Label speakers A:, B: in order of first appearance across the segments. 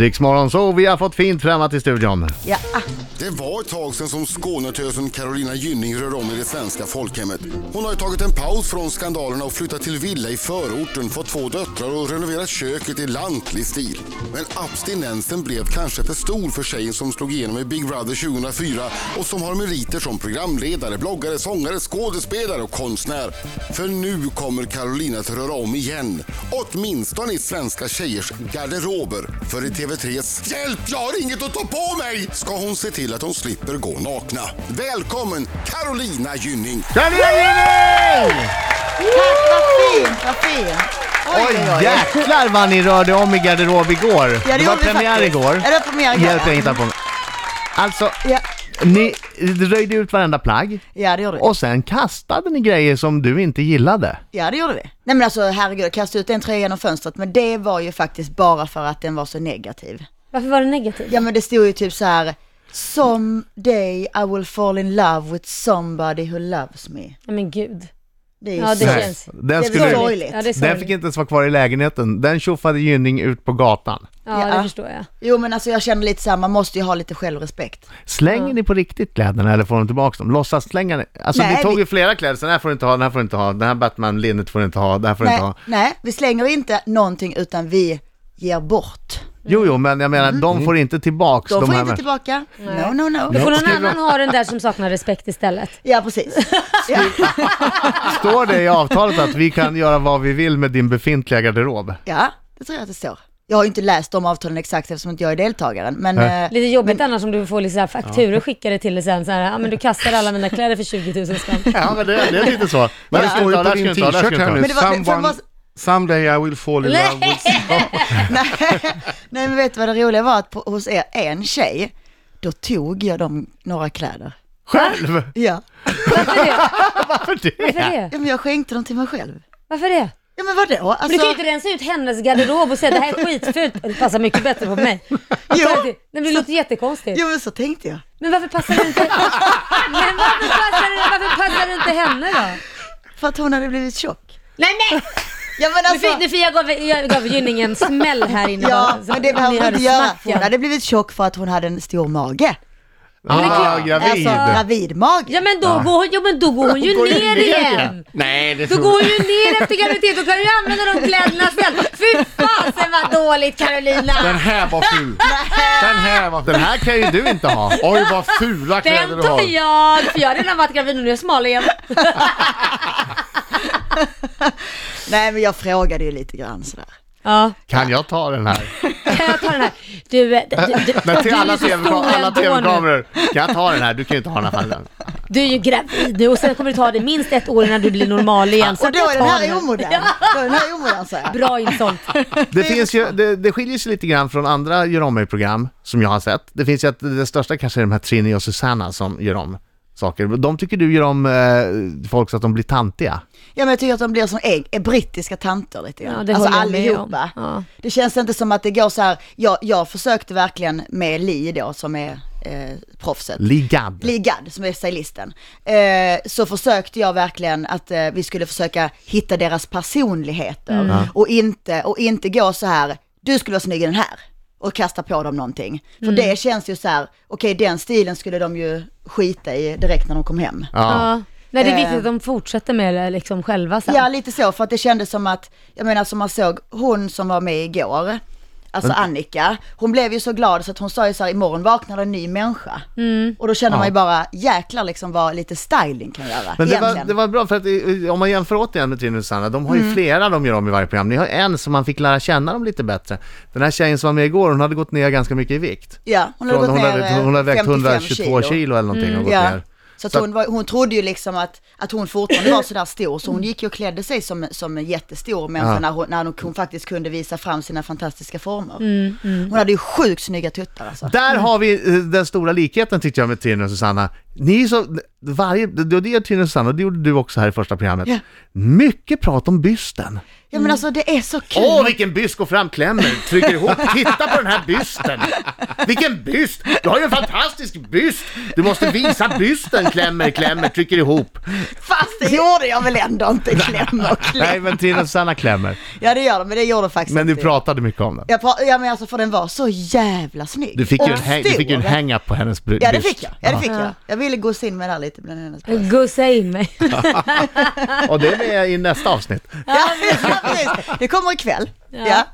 A: Riksmorgon så vi har fått fint främmat i studion.
B: Ja,
C: Det var ett tag sedan som Skånetösen Carolina Gynning rörde om i det svenska folkhemmet. Hon har ju tagit en paus från skandalerna och flyttat till villa i förorten, fått två döttrar och renoverat köket i lantlig stil. Men abstinensen blev kanske för stor för tjejen som slog igenom i Big Brother 2004 och som har meriter som programledare, bloggare, sångare, skådespelare och konstnär. För nu kommer Carolina att röra om igen. Åtminstone i svenska tjejers garderober. För i TV3s Hjälp, jag har inget att ta på mig! Ska hon se till att hon slipper gå nakna. Välkommen Carolina Gynning!
A: Carolina Gynning!
B: tack vad fint, vad fint.
A: Oj, jäklar vad ni rörde om i garderob igår.
B: Ja,
A: det, var
B: gjorde vi
A: premiär
B: faktiskt.
A: igår.
B: Ja, det var premiär igår.
A: Hjälp jag hittar på mig. Alltså,
B: Ja.
A: ni röjde ut varenda plagg
B: Ja, det gjorde vi.
A: och sen kastade ni grejer som du inte gillade.
B: Ja, det gjorde vi. Nej men alltså herregud, jag kastade ut en tröja genom fönstret, men det var ju faktiskt bara för att den var så negativ.
D: Varför var det negativt?
B: Ja men det stod ju typ så här, Some day I will fall in love with somebody who loves me.
D: Ja, men gud.
B: Det är ju
D: Ja, det
B: så-
A: Nej,
D: känns...
A: den
D: det är
A: skulle-
D: sorgligt. Ja, det
A: Den
D: är
A: fick
D: sorgligt.
A: inte ens vara kvar i lägenheten. Den tjoffade Gynning ut på gatan.
D: Ja,
B: Ja.
D: det förstår jag.
B: Jo men alltså jag känner lite så här, man måste ju ha lite självrespekt.
A: Slänger ni på riktigt kläderna eller får de tillbaka dem? Låtsas slänga ni? Alltså
B: Nej,
A: ni tog
B: vi-
A: ju flera kläder, så den här får du inte ha, den här får du inte ha, den här Batman-linnet får du inte ha, den här får du
B: Nej,
A: inte ha.
B: nej, vi slänger inte någonting utan vi ger bort.
A: Jo, jo, men jag menar, de får inte tillbaks
B: Mm. De, får
A: här
B: inte
A: med-
B: tillbaka. No, no, no.
D: Då får någon annan ha den där som saknar respekt istället.
B: Ja, precis. Ja.
A: Står det i avtalet att vi kan göra vad vi vill med din befintliga garderob?
B: ja, det tror jag att det står. Jag har ju inte läst de avtalen exakt eftersom inte jag är deltagaren, men...
A: Nej.
B: eh,
D: Lite jobbigt annars om du får lite så här fakturor skickade till dig sen så här, ja men du kastar alla mina kläder för 20 000 spänn.
A: Ja, men det, det är lite så.
E: Men det
A: Där ska du
E: står ju
A: ta, där
E: på
A: ska
E: din
A: du ta, där ska
E: t-shirt
A: du ta.
E: här nu,
B: Men det var- för det
E: someone,
B: var-
E: someday I will fall in love with
B: Nej, nej, men vet du vad det roliga var? Att på, hos er, en tjej, då tog jag dem några kläder.
A: Själv?
B: Ja.
D: Varför det?
A: Varför det?
D: Varför det?
B: ja, men jag skänkte dem till mig själv.
D: Varför det?
B: Ja, men vadå? Alltså,
D: Men du kan ju inte rensa ut hennes garderob och säga det här är skitfult, det passar mycket bättre på mig.
B: Jo.
D: Nej, men det låter jättekonstigt.
B: Jo, men så tänkte jag.
D: Men varför passar det inte... Men varför passar det, varför passar det inte henne då?
B: För att hon hade blivit tjock.
D: Nej nej!
B: Ja, men
D: Nu fick, nu
B: alltså...
D: fick jag gav, jag gav Gynning en smäll här inne.
B: Ja,
D: bara, så
B: men det
D: Alltså, ni
B: behöver hon
D: hörde
B: inte göra.
D: smacken.
B: Hon hade blivit tjock för att hon hade en stor mage.
A: Ah, gravid.
B: Alltså, gravid mage.
D: Ja men då, Går, hon- ja, men då går hon ju
A: går ju
D: ner
A: ner
D: igen.
E: Nej, det
D: Då går hon ju ner efter graviditet, då kan du ju använda de kläderna sen. Fy fasen vad dåligt Carolina!
E: Den här var ful. Den här var ful.
A: Den här kan ju du inte ha.
E: Oj, vad fula kläder
D: Den
E: du
D: tar
E: har.
D: jag, för jag har redan varit gravid och nu är jag smal igen.
B: Nej, men jag frågade ju lite grann sådär.
D: Ja,
A: Kan jag ta den här?
D: kan jag ta den här? Du, eh, du, du,
A: Men till
D: du är
A: alla
D: ju så
A: TV
D: stor
A: alla
D: ändå nu.
A: TV-kameror. Kan jag ta den här? Du kan ju inte ha den här. Fallen.
D: Du är ju gravid nu och sen kommer det ta dig minst ett år innan du blir normal igen. Så
B: Och då
D: att
B: är
D: jag
B: den
D: tar
B: här omodern. Då är den här omodern, säger jag.
D: Bra insålt.
A: Det, finns ju, det, det skiljer sig lite grann från andra gör om mig-program som jag har sett. Det finns ju att det största kanske är de här Trini och Susanna som gör om saker. De tycker du gör om eh, folk så att de blir tantiga.
B: Ja men jag tycker att de blir som ägg, är brittiska tanter lite
D: Ja,
B: grann.
D: det
B: alltså
D: håller jag med
B: allihopa.
D: om. Ja.
B: Det känns inte som att det går så här, jag, jag försökte verkligen med Li då som är eh, proffset.
A: Ligad.
B: Ligad som är stylisten. Eh, så försökte jag verkligen att eh, vi skulle försöka hitta deras personligheter
D: Mm.
B: och, inte, och inte gå så här, du skulle vara snygg i den här och kasta på dem någonting. För
D: Mm.
B: det känns ju så här, okej den stilen skulle de ju skita i direkt när de kom hem.
A: Ja.
D: Ja. Nej, det är viktigt
B: Eh.
D: att de fortsätter med det liksom själva sen.
B: Ja, lite så, för att det kändes som att, jag menar som man såg hon som var med igår, alltså Annika, hon blev ju så glad så att hon sa ju så här, imorgon vaknar det en ny människa.
A: Mm.
B: Och då känner man ju bara, jäklar liksom vad lite styling kan göra.
A: Men det var,
B: egentligen.
A: det var bra för att eh, om man jämför återigen med Trine och Susanna, de har ju flera de gör om i varje program. Ni har en som man fick lära känna dem lite bättre. Den här tjejen som var med igår, hon hade gått ner ganska mycket i vikt.
B: Ja, hon hade
A: Från-
B: gått
A: hon,
B: ner
A: hade, hon hade vägt
B: 55
A: 122 kilo, eller någonting och gått
B: Ja.
A: ner.
B: Så att
A: Så att-
B: hon, var, hon trodde ju liksom att, att hon fortfarande var sådär stor, så hon gick ju och klädde sig som, som en jättestor människa
A: Ja.
B: när, hon, när hon, hon faktiskt kunde visa fram sina fantastiska former.
A: Mm,
B: Hon hade ju sjukt snygga tuttar alltså.
A: Där har vi eh, den stora likheten tyckte jag med Trine och Susanna. Ni är så, varje, det, det gör tydligen Susanna, och det gjorde du också här i första programmet.
B: Ja.
A: Mycket prat om bysten.
B: Ja men alltså det är så kul.
A: Åh, vilken byst! Går fram, klämmer, trycker ihop. Titta på den här bysten! Vilken byst! Du har ju en fantastisk byst! Du måste visa bysten, klämmer, klämmer, trycker ihop.
B: Fast det gjorde jag väl ändå inte, kläm och
A: Nej,
B: kläm.
A: men Tina och Susanna klämmer.
B: Ja det gör de, men det gjorde de faktiskt
A: Men du
B: inte.
A: pratade mycket om den.
B: Jag pra- ja men alltså för den var så jävla snygg.
A: Du fick ju
B: Och
A: en, hang, du fick ju en
B: stor.
A: hang-up på hennes bry- byst.
B: Ja det fick jag, ja det fick
D: Ja.
B: jag. Jag ville gå in med det här lite bland hennes bröst.
D: Gussa in mig.
A: Och det är med i nästa avsnitt.
B: Ja, precis. Det kommer ikväll. Ja. ja.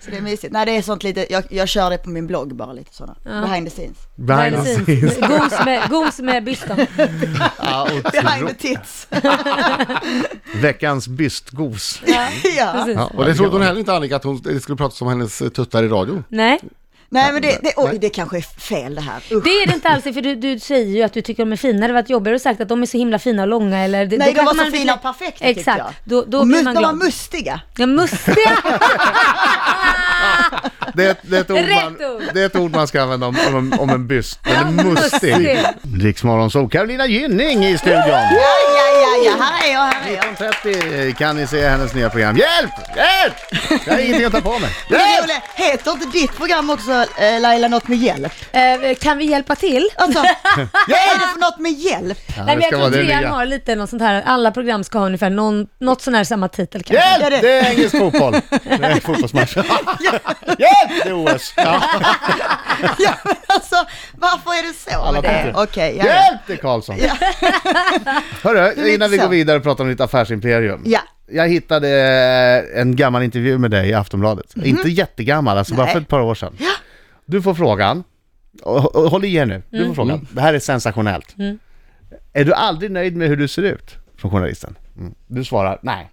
B: Så det är mysigt. Nej, det är sånt lite, jag, jag kör det på min blogg bara lite sådana. Behind the scenes.
A: Behind the scenes.
D: Gos med, gos med bysten.
A: Ja,
B: Behind the
A: otro-
B: tits.
A: Veckans bystgos.
B: ja.
D: Precis.
A: Ja,
E: Och det trodde hon
A: var-
E: heller inte Annika att hon det skulle prata om hennes eh, tuttar i radio.
D: Nej,
B: Nej, men det, det, oj, det kanske är fel det här. Usch.
D: det är det inte alls. För du, du säger ju att du tycker de är fina. Det var jobbigare att sagt att de är så himla fina och långa. Eller, det,
B: Nej,
D: då
B: de var
D: kanske
B: så
D: man-
B: fina och perfekta tyckte
D: Exakt.
B: jag.
D: Då, då
B: Och
D: blir
B: mus-
D: man
B: de var
D: glad.
B: mustiga.
D: Ja, mustiga!
A: Det är, ett- det, är ett ord
D: Rätt
A: man,
D: ord.
A: det är ett ord man ska använda om, om, en- om en byst. Den
D: Ja,
A: är mustig. Riksmorgon så Carolina Gynning i studion.
B: Ja, ja, ja, ja, här är jag, här är jag.
A: 19.30 kan ni se hennes nya program. Hjälp! Hjälp! Jag har ingenting att ta på mig.
B: Men det
A: Hjälp!
B: roliga, heter inte ditt program också eh, Laila något med hjälp?
D: Eh, kan vi hjälpa till?
B: Alltså, vad är det för något med hjälp?
A: Ja,
D: Nej,
A: det
D: men jag
A: ska
D: tror
A: vara det
D: trean
A: nya.
D: har lite något sånt här. Alla program ska ha ungefär någon, något sån här samma titel kanske.
B: Ja, det-
A: Hjälp! Det är engelsk fotboll. Det är fotbollsmatch. Hjälp! Det är OS. Ja.
B: Ja, men alltså, varför är det så
A: Alla
B: med det?
A: tänker.
B: Okej, ja, ja.
A: Hjälp! Det är Karlsson. Hörru, innan vi
B: så.
A: går vidare och pratar om ditt affärsimperium.
B: Ja.
A: Jag hittade eh, en gammal intervju med dig i Aftonbladet. Inte jättegammal, alltså bara
B: Mhm. Nej.
A: för ett par år sedan.
B: Ja.
A: Du får frågan, och, och, håll i er nu, du
B: Mm.
A: får frågan. Det här är sensationellt. Är du aldrig nöjd med hur du ser ut? Från journalisten. Mm. Du svarar, nej.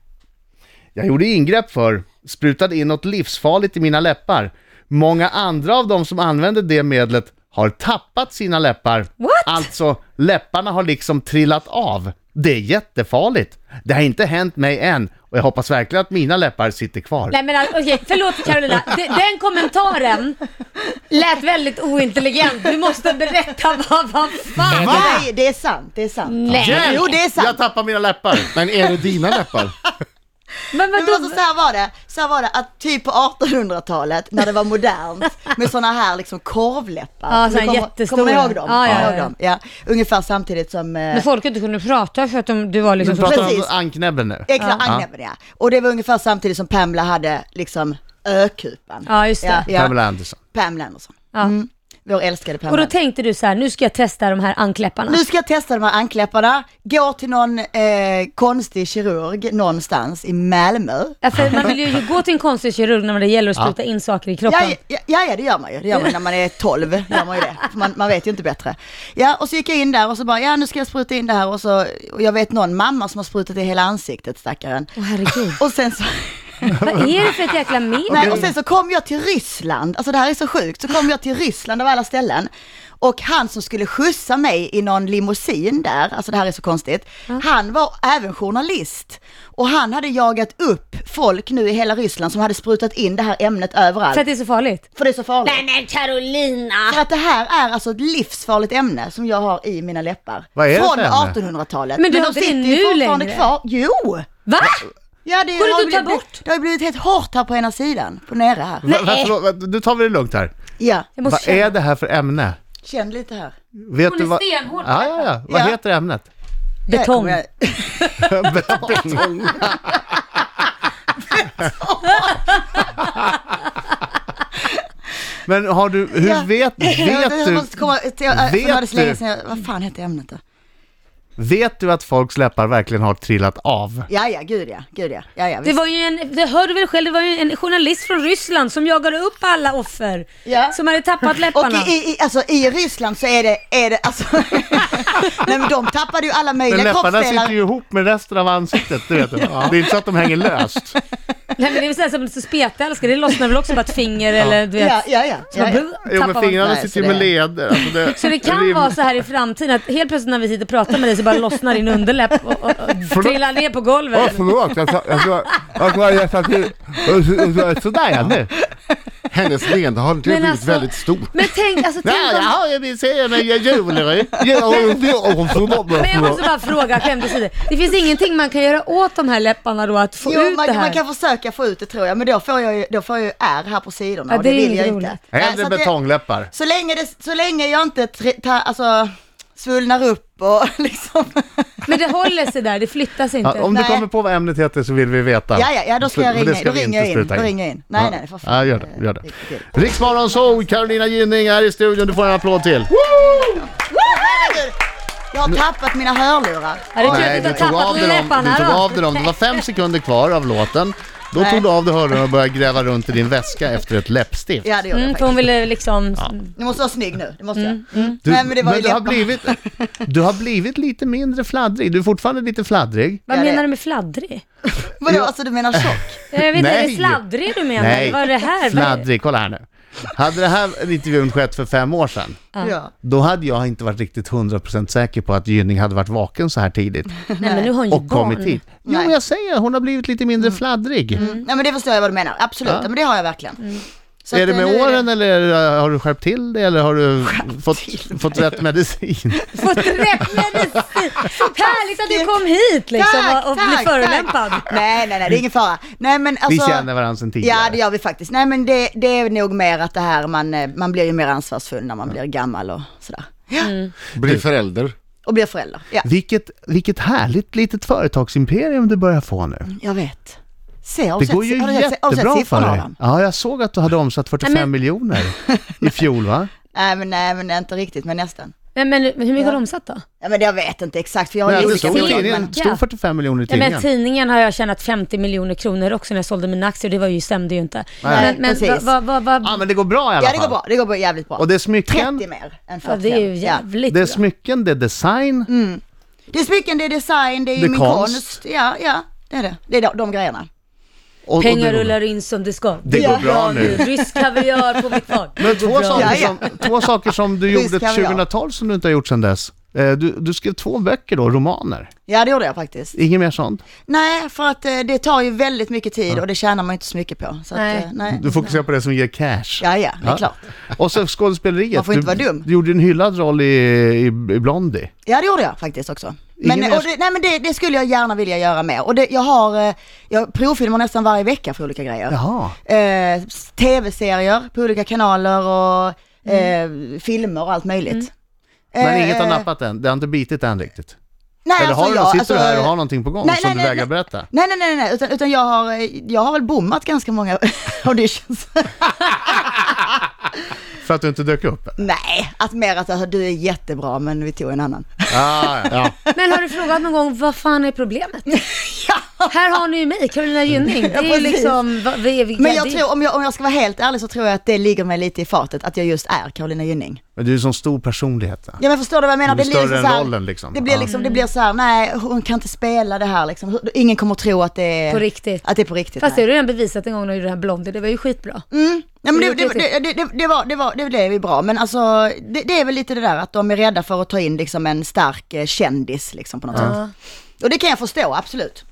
A: Jag gjorde ingrepp för, sprutade in något livsfarligt i mina läppar. Många andra av de som använder det medlet har tappat sina läppar.
D: What?
A: Alltså, läpparna har liksom trillat av. Det är jättefarligt. Det har inte hänt mig än och jag hoppas verkligen att mina läppar sitter kvar.
D: Nej men alltså, okej, förlåt Carolina. De- Den kommentaren lät väldigt ointelligent. Du måste berätta vad, vad fan.
B: Nej, det är sant, det är sant.
D: Nej.
B: Jo, det är sant.
A: Jag tappar mina läppar.
E: Men är det dina läppar?
D: Men
B: Men alltså,
D: vadå?
B: så här var det, så här var det att typ på 1800-talet när det var modernt med sådana här liksom korvläppar.
D: Ja,
B: Om
D: såna
B: du kommer-
D: jättestora.
B: Kommer ni ihåg dem?
D: Ja, ja,
B: Kommer ni ihåg
D: ja.
B: dem? ja. Ungefär samtidigt som... eh,
D: Men folk inte kunde prata för att de, du var liksom
A: Du
D: så...
A: pratar om
B: Precis.
A: anknäbben nu.
B: Exakt, agnäbben ja. Och det var ungefär samtidigt som Pamela hade liksom ökupan.
D: Ja, just det.
B: Ja,
A: Pamela Anderson.
B: Pamela Anderson.
D: Ja.
B: Mm. Vår älskade
D: Och
B: Pamela.
D: då tänkte du så här, nu ska jag testa de här ankläpparna.
B: Nu ska jag testa de här ankläpparna, gå till någon eh, konstig kirurg någonstans i Malmö.
D: Ja, för man vill ju gå till en konstig kirurg när det gäller att spruta in saker i kroppen.
B: Ja, ja, ja, ja, det gör man ju. Det gör man när man är 12. Gör man, ju det. För man, man vet ju inte bättre. Ja, och så gick jag in där och så bara, ja nu ska jag spruta in det här och så, och jag vet någon mamma som har sprutat i hela ansiktet stackaren.
D: Åh herregud.
B: Och sen så,
D: Vad är det för ett jäkla men?
B: nej, och sen så kom jag till Ryssland, alltså det här är så sjukt, så kom jag till Ryssland av alla ställen. Och han som skulle skjutsa mig i någon limousin där, alltså det här är så konstigt, han var även journalist. Och han hade jagat upp folk nu i hela Ryssland som hade sprutat in det här ämnet överallt.
D: För att det är så farligt?
B: för det är så farligt.
D: men Carolina!
B: För att det här är alltså ett livsfarligt ämne som jag har i mina läppar.
A: Vad är det
B: Från
A: för ämne?
B: 1800-talet.
D: Men du har
B: de
D: inte det
B: sitter
D: nu
B: ju fortfarande
D: längre?
B: kvar. Jo!
D: Va?
B: Ja, det
D: Går det
B: har
D: inte att ta
B: blivit-
D: bort?
B: Det har ju blivit helt hårt här på ena sidan, på nere här.
A: Va- va- förlåt, va- Nu tar vi det lugnt här.
B: Ja,
D: Jag
A: Vad
D: måste
A: är
D: känna.
A: det här för ämne?
B: känn lite här.
A: Vet
D: Hon
A: du
D: är
A: vad...
D: stenhård på
A: Ja, ja, ja. Vad
B: Ja.
A: heter ämnet?
B: Där
D: Betong.
B: kommer jag-
A: Betong. Men har du, hur
B: Ja.
A: vet,
B: Jag-
A: vet
B: jag
A: du,
B: måste komma- jag-
A: vet
B: för det var så
A: du-
B: länge sedan jag- Vad fan hette ämnet då?
A: vet du att folks läppar verkligen har trillat av?
B: Ja, ja, gud ja, gud ja. ja, ja
D: Det
B: visst.
D: var ju en, det hör du väl själv, det var ju en journalist från Ryssland som jagade upp alla offer.
B: Ja.
D: Som hade tappat
B: och
D: läpparna.
B: i, i, alltså, i Ryssland så är det, är det alltså, nej men de tappade ju alla
A: Men
B: möjliga
A: läpparna
B: kroppsdelar.
A: sitter ju ihop med resten av ansiktet, du vet. Det är inte så att de hänger löst.
D: Nej men det är väl såhär som så spetälska, det lossnar väl också bara ett finger eller du vet.
B: Ja, ja, ja.
D: Så,
B: ja,
D: man,
B: ja.
D: brr,
A: Jo, men
D: tappar man.
A: fingrarna
B: Nej, så
A: sitter ju med
B: det-
A: leder. Alltså det,
D: Så det kan
A: rim-
D: vara så här i framtiden att helt plötsligt när vi sitter och pratar med dig så bara lossnar din underläpp och, och, och trillar ner på golvet.
A: Åh, förlåt, jag ska, jag ska, jag ska hjälpa till. Och så- och så- Sådär ja, nu.
E: Hennes leende har inte
D: Men
E: blivit
D: alltså-
E: väldigt stort.
D: Men tänk, alltså tänk
A: Ja,
D: om...
A: jaha, jag vill säga men jag Juleryd. Ja, hon- hon- hon får bara-
D: Men jag måste bara fråga, skämt åsido. Det finns ingenting man kan göra åt de här läpparna då att få
B: Jo,
D: ut det
B: man,
D: här?
B: man kan försöka få ut det tror jag, men då får jag ju, då får jag ju ärr här på sidorna
D: Ja,
B: och
D: det
B: det,
D: är
B: vill
D: inget
B: jag
D: roligt.
B: inte. Nej,
A: Hellre
B: så att det-
A: betongläppar.
B: Så länge, det, så länge jag inte tri- ta, alltså, svullnar upp och liksom...
D: Men det håller sig där, det flyttas inte.
A: Ja, om du
B: Nej.
A: kommer på vad ämnet heter så vill vi veta.
B: Ja, ja, ja, då ska
A: För-
B: jag
A: för det
B: ringa in. Då
A: vi
B: ringer jag
A: inte
B: in.
A: sluta
B: Då ringer jag in. Nej,
A: Ja.
B: nej, för fan.
A: Ja, gör det. Gör det.
B: Det- det-
A: Riksmorgon Zoo, Carolina Gynning här i studion. Du får en applåd till.
B: Herregud! Jag har tappat mina hörlurar.
D: Ja, det är
A: Nej,
D: tråkigt
A: du
D: att
A: tog
D: tappa
A: av
D: på
A: dig dem.
D: läpparna
A: Du tog
D: då.
A: av dig dem. Det var fem sekunder kvar av låten. Då
B: Nej.
A: tog du av dig hörlurarna och började gräva runt i din väska efter ett läppstift.
B: Ja, det gjorde
D: Mm,
B: jag
D: för hon
B: faktiskt.
D: ville liksom...
B: Du måste vara snygg nu, det måste jag.
A: Du,
B: Nej, men det var ju
A: du, har
B: läpparna.
A: blivit, du har blivit lite mindre fladdrig. Du är fortfarande lite fladdrig.
D: Vad
B: Ja, det-
D: menar du med fladdrig?
B: Vadå, alltså du menar tjock?
D: Jag vet inte, är det
A: Nej.
D: sladdrig du menar?
A: Nej,
D: Vad är det här?
A: fladdrig. Kolla här nu. Hade det här intervjun skett för fem år sedan,
B: Ja.
A: då hade jag inte varit riktigt 100% säker på att Gynning hade varit vaken så här tidigt
D: Nej men nu har hon ju
A: och
D: barn.
A: kommit hit. Jo,
B: Nej.
A: jag säger hon har blivit lite mindre fladdrig.
B: Nej men det förstår jag vad du menar, absolut.
A: Ja.
B: Ja. Men det har jag verkligen. Så
A: är
B: att,
A: det
B: eh, nu
A: med åren eller är det, har du skärpt till det eller har du
B: till
A: fått, fått rätt medicin?
D: Fått rätt medicin! Härligt att du kom hit liksom
B: Tack,
D: och, och
B: tack,
D: blev
B: tack.
D: förolämpad.
B: Nej, nej, nej, det är ingen fara. Nej men alltså...
A: Vi känner varandra sedan tidigare.
B: Ja, det gör vi faktiskt. Nej, men det, det är nog mer att det här, man, eh, man blir ju mer ansvarsfull när man blir gammal och sådär. Ja,
E: Bli förälder.
B: och blir förälder. Ja,
A: vilket, vilket härligt litet företagsimperium du börjar få nu.
B: jag vet. Se, har du
A: Det
B: sett-
A: går ju
B: har du sett- har du sett
A: jättebra för
B: siffrorna,
A: dig.
B: Adam?
A: Ja, jag såg att du hade omsatt 45
D: Nej, men-
A: miljoner i fjol va?
B: Nej, men nej, men inte riktigt, men nästan.
D: Nej men men hur mycket har de omsatt då?
B: Ja, men jag vet inte exakt, för jag har
A: Men
B: ju
A: det
B: olika
A: stod, i
D: bolag,
A: tidningen.
B: men...
D: men- Ja.
A: stod 45 miljoner i
D: Ja, men
A: tidningen.
D: tidningen har jag tjänat 50 miljoner kronor också när jag sålde mina aktier, det var ju, stämde ju inte.
A: Nej.
D: men men
B: Precis.
D: vad, vad, vad, vad,
A: Ja, men det går bra i alla
B: Ja,
A: fall.
B: det går bra, det går bra, jävligt bra.
A: Och det är smycken,
B: 30 mer än 45.
D: ja, det är ju jävligt
A: det är
D: bra.
A: smycken, det är design.
B: Mm. Det är smycken, det är design, det är ju
A: Det är
B: min
A: konst.
B: konst. Ja, ja, det är det. Det är de, de grejerna.
A: Och, och
D: Pengar
A: det går-
D: rullar in som det ska.
A: Det går bra nu.
D: Rysk kaviar på mitt fat.
A: Men två saker,
B: Ja, ja.
A: som, två saker som du gjorde
B: Visst kan vi göra.
A: 2012 som du inte har gjort sedan dess. Eh, Du, du skrev två böcker då, romaner.
B: Ja, det gjorde jag faktiskt.
A: Inget mer sånt.
B: Nej, för att eh, det tar ju väldigt mycket tid och det tjänar man ju inte så mycket på. Så
D: Nej.
B: Att, eh, nej.
A: Du fokuserar på det som ger cash.
B: Ja, ja, det är
A: Ja.
B: klart.
A: Och så skådespeleriet.
B: Man får inte
A: du,
B: vara dum.
A: Du gjorde en hyllad roll i, i, i Blondie.
B: Ja, det gjorde jag faktiskt också. Men,
A: Ingen mer-
B: och det, nej, men det, det skulle jag gärna vilja göra mer. Och det, jag har, eh, jag provfilmar nästan varje vecka för olika grejer.
A: Jaha.
B: Eh, s- Tv-serier på olika kanaler och
D: Mm.
B: eh, filmer och allt möjligt.
A: Men
B: Eh,
A: inget har
B: eh,
A: nappat än. Det har inte bitit än riktigt.
B: Nej,
A: Eller har
B: alltså
A: du,
B: jag,
A: sitter
B: alltså,
A: du här och har någonting på gång
B: nej,
A: som
B: nej,
A: du
B: nej,
A: vägrar
B: nej.
A: berätta?
B: Nej, nej, nej, nej, utan, utan jag, har, jag har väl bommat ganska många auditions.
A: För att du inte dök upp?
B: nej, att mer att alltså, du är jättebra men vi tog en annan.
A: Ah, ja.
D: Men har du frågat någon gång, vad fan är problemet? Här har ni ju mig, Carolina Gynning. Det är ju
B: precis.
D: liksom, vad, vi, vi,
B: Men
D: ja,
B: jag
D: det,
B: tror, om jag, om jag ska vara helt ärlig så tror jag att det ligger mig lite i fatet att jag just är Carolina Gynning.
A: Men du är en sån stor personlighet. då.
B: Ja men förstår du vad jag menar?
A: Du är
B: blir
A: större än
B: så här-
A: rollen liksom.
B: Det blir liksom, det blir så här, nej hon kan inte spela det här liksom. Hur- Ingen kommer att tro att det är
D: På riktigt.
B: Att det Mm, är på riktigt.
D: Fast det
B: nej.
D: har du redan bevisat en gång när du gjorde det här Blondie, det var ju skitbra.
B: Nej, men det,
D: det-
B: det, det, det, det, det var, det var, det blev ju bra. Men alltså det, det är väl lite det där att de är rädda för att ta in liksom en stark eh, kändis liksom på något sätt. Och det kan jag förstå, absolut.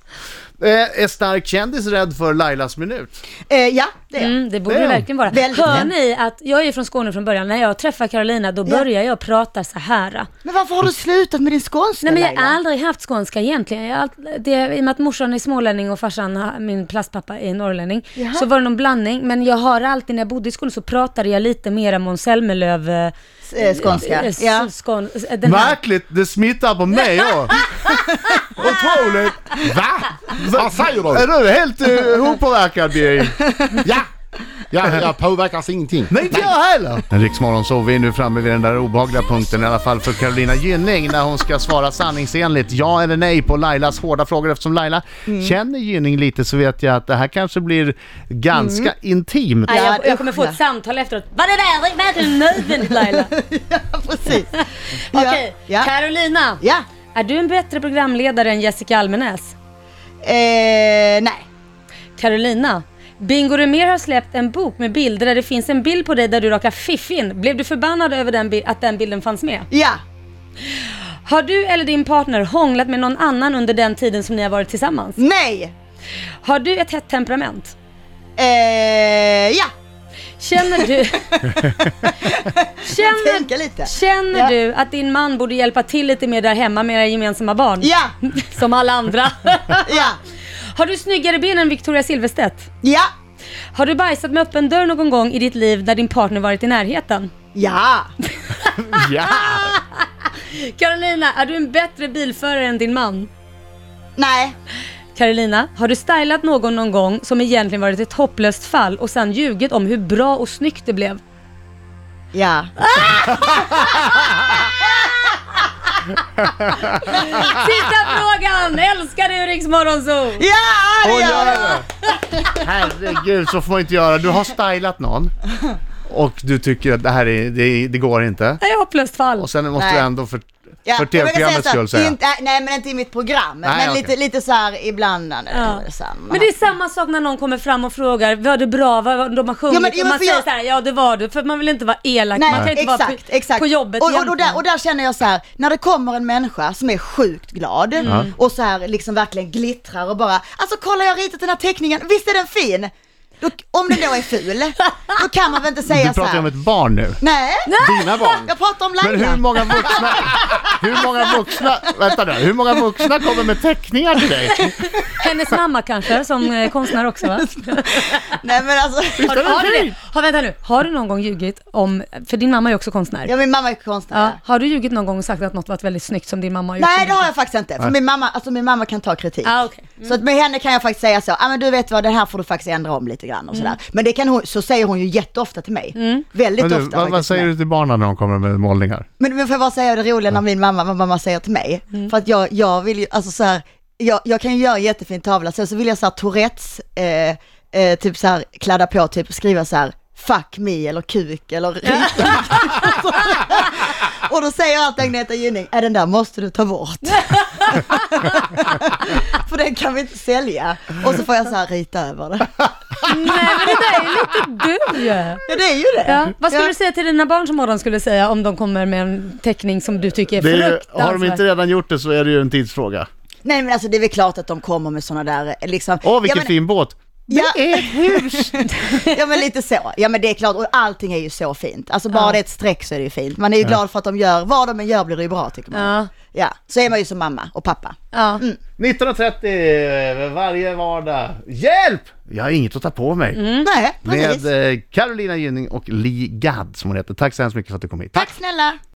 A: Eh, är stark kändis rädd för Lailas minut?
B: Eh, ja, det är jag.
D: Mm, det borde det
A: Ja.
D: verkligen vara.
B: Väldigt.
D: Hör ni att, jag är ju från Skåne från början, när jag träffar Carolina då börjar jag prata så här.
B: Men varför har du slutat med din skånska
D: Nej men jag
B: Laila?
D: har aldrig haft skånska egentligen. Jag har all- det, I och med att morsan är smålänning och farsan, min plastpappa, är norrlänning. Så var det någon blandning. Men jag har alltid, när jag bodde i skolan så pratade jag lite mera Måns Zelmerlöw. eh,
B: Eh, Skånska.
D: eh,
B: Ja.
D: skån, eh, den här.
A: det smittar på mig också. Otroligt!
E: Va? Vad säger
A: Är
E: du?
A: du helt uh, opåverkad Birger?
E: Ja! Jag, jag påverkas ingenting.
A: Nej, inte jag heller! Riksmorgon så vi är nu framme vid den där obehagliga punkten i alla fall för Carolina Gynning när hon ska svara sanningsenligt ja eller nej på Lailas hårda frågor eftersom Laila
B: Mm.
A: känner Gynning lite så vet jag att det här kanske blir ganska
B: Mm.
A: intimt.
D: Nej,
B: Ja,
D: jag, jag kommer få
B: ja.
D: ett samtal efteråt. Var det där verkligen nödvändigt Laila?
B: Ja, precis.
D: Okej,
B: Ja. Ja.
D: Carolina.
B: ja.
D: Är du en bättre programledare än Jessica Almenäs?
B: Eh, nej.
D: Carolina. Bingo Rimér har släppt en bok med bilder där det finns en bild på dig där du rakar fiffin. Blev du förbannad över den bi- att den bilden fanns med?
B: Ja.
D: Har du eller din partner hånglat med någon annan under den tiden som ni har varit tillsammans?
B: Nej.
D: Har du ett hett temperament?
B: Eh, ja.
D: Känner du... känner
B: Tänka lite.
D: känner
B: Ja.
D: du att din man borde hjälpa till lite mer där hemma med era gemensamma barn?
B: Ja,
D: Som alla andra.
B: ja,
D: Har du snyggare ben än Victoria Silvstedt?
B: ja,
D: Har du bajsat med öppen dörr någon gång i ditt liv när din partner varit i närheten?
B: ja.
A: Ja!
D: Carolina, är du en bättre bilförare än din man?
B: Nej,
D: Carolina, har du stylat någon någon gång som egentligen varit ett hopplöst fall och sen ljugit om hur bra och snyggt det blev?
B: ja.
D: Sista frågan! Älskar du Riks Morgonzoo?
B: Ja, det
A: Oj,
B: gör jag.
A: ja, ja. Herregud, så får man inte göra. Du har stylat någon och du tycker att det här är, det, det går inte.
D: Nej, hopplöst fall.
A: Och sen måste
B: Nej.
A: du ändå för, för
B: jag brukar säga
A: tv-programmets
B: så här,
A: skull säga.
B: Inte, äh, nej men inte i mitt program,
A: Nej,
B: men
A: okej.
B: lite, lite så här ibland. Ja.
D: Ja.
B: Det är samma.
D: Men det är samma sak när någon kommer fram och frågar var du bra, vad de har sjungit
B: Ja, men- ja,
D: och
B: men
D: man
B: för
D: säger
B: jag-
D: så här, ja det var du, för man vill inte vara elak, man kan
B: Nej,
D: inte vara
B: exakt,
D: på,
B: exakt.
D: på jobbet
B: och, och, och,
D: egentligen.
B: där, och där känner jag så här, när det kommer en människa som är sjukt glad
D: Mm.
B: och så här liksom verkligen glittrar och bara, alltså kolla jag har ritat den här teckningen, visst är den fin? Då, om den då är ful, då kan man väl inte säga
A: Du
B: så
A: pratar ju
B: här.
A: om ett barn nu.
B: Nej,
E: Dina barn.
B: jag pratar om
A: Men hur
B: Laila.
A: många vuxna, hur många vuxna, vänta nu, hur många vuxna kommer med teckningar till dig?
D: Hennes mamma kanske, som eh, konstnär också va?
B: Nej men alltså,
D: Har, har, du det? Har, vänta nu, har du någon gång ljugit om, för din mamma är också konstnär.
B: ja, min mamma är konstnär.
D: Ja. Har du ljugit någon gång och sagt att något varit väldigt snyggt som din mamma har gjort?
B: Nej det har jag faktiskt inte, för min mamma, alltså, min mamma kan ta kritik.
D: Ah, okej.
B: Så att med henne kan jag faktiskt säga så, ah, men du vet vad, den här får du faktiskt ändra om lite grann och sådär. Men det kan hon, så säger hon ju jätteofta till mig. Väldigt
A: Men du,
B: ofta
A: vad, vad
B: faktiskt till
A: säger
B: mig.
A: du till barnen när de kommer med målningar?
B: Men, men får jag bara säga det roliga när min mamma, vad mamma säger till mig. För att jag, jag vill ju, alltså så här, jag, jag kan ju göra en jättefin tavla, så, så vill jag så här Tourettes, eh, eh, typ så här kladda på, typ skriva så här fuck me eller kuk eller rita. Och då säger alltid Agneta Gynning, är den där måste du ta bort. För den kan vi inte sälja. Och så får jag så här rita över det.
D: Nej men det där är ju lite du ju.
B: Ja det är ju det.
D: Ja. Vad skulle
B: Ja.
D: du säga till dina barn som morgon skulle säga om de kommer med en teckning som du tycker är
A: Det är,
D: fruktansvärd?
A: har de inte redan gjort det så är det ju en tidsfråga.
B: Nej men alltså det är väl klart att de kommer med sådana där eh, liksom.
A: Åh, vilken
B: Ja, men-
A: fin båt!
B: Ja.
A: Det är ett hus!
B: Ja men lite så. Ja men det är klart, och allting är ju så fint. Alltså bara
D: Ja.
B: det är ett streck så är det ju fint. Man är ju glad för att de gör, vad de än gör blir det ju bra tycker man.
D: Ja.
B: Ja, så är man ju som mamma och pappa.
D: Ja.
A: 19.30 eh, varje vardag. Hjälp! Jag har inget att ta på mig.
D: Mm.
B: Nej, precis.
A: eh, Med eh, Carolina Gynning och Li Gadd som hon heter. Tack så hemskt mycket för att du kom hit.
B: Tack snälla.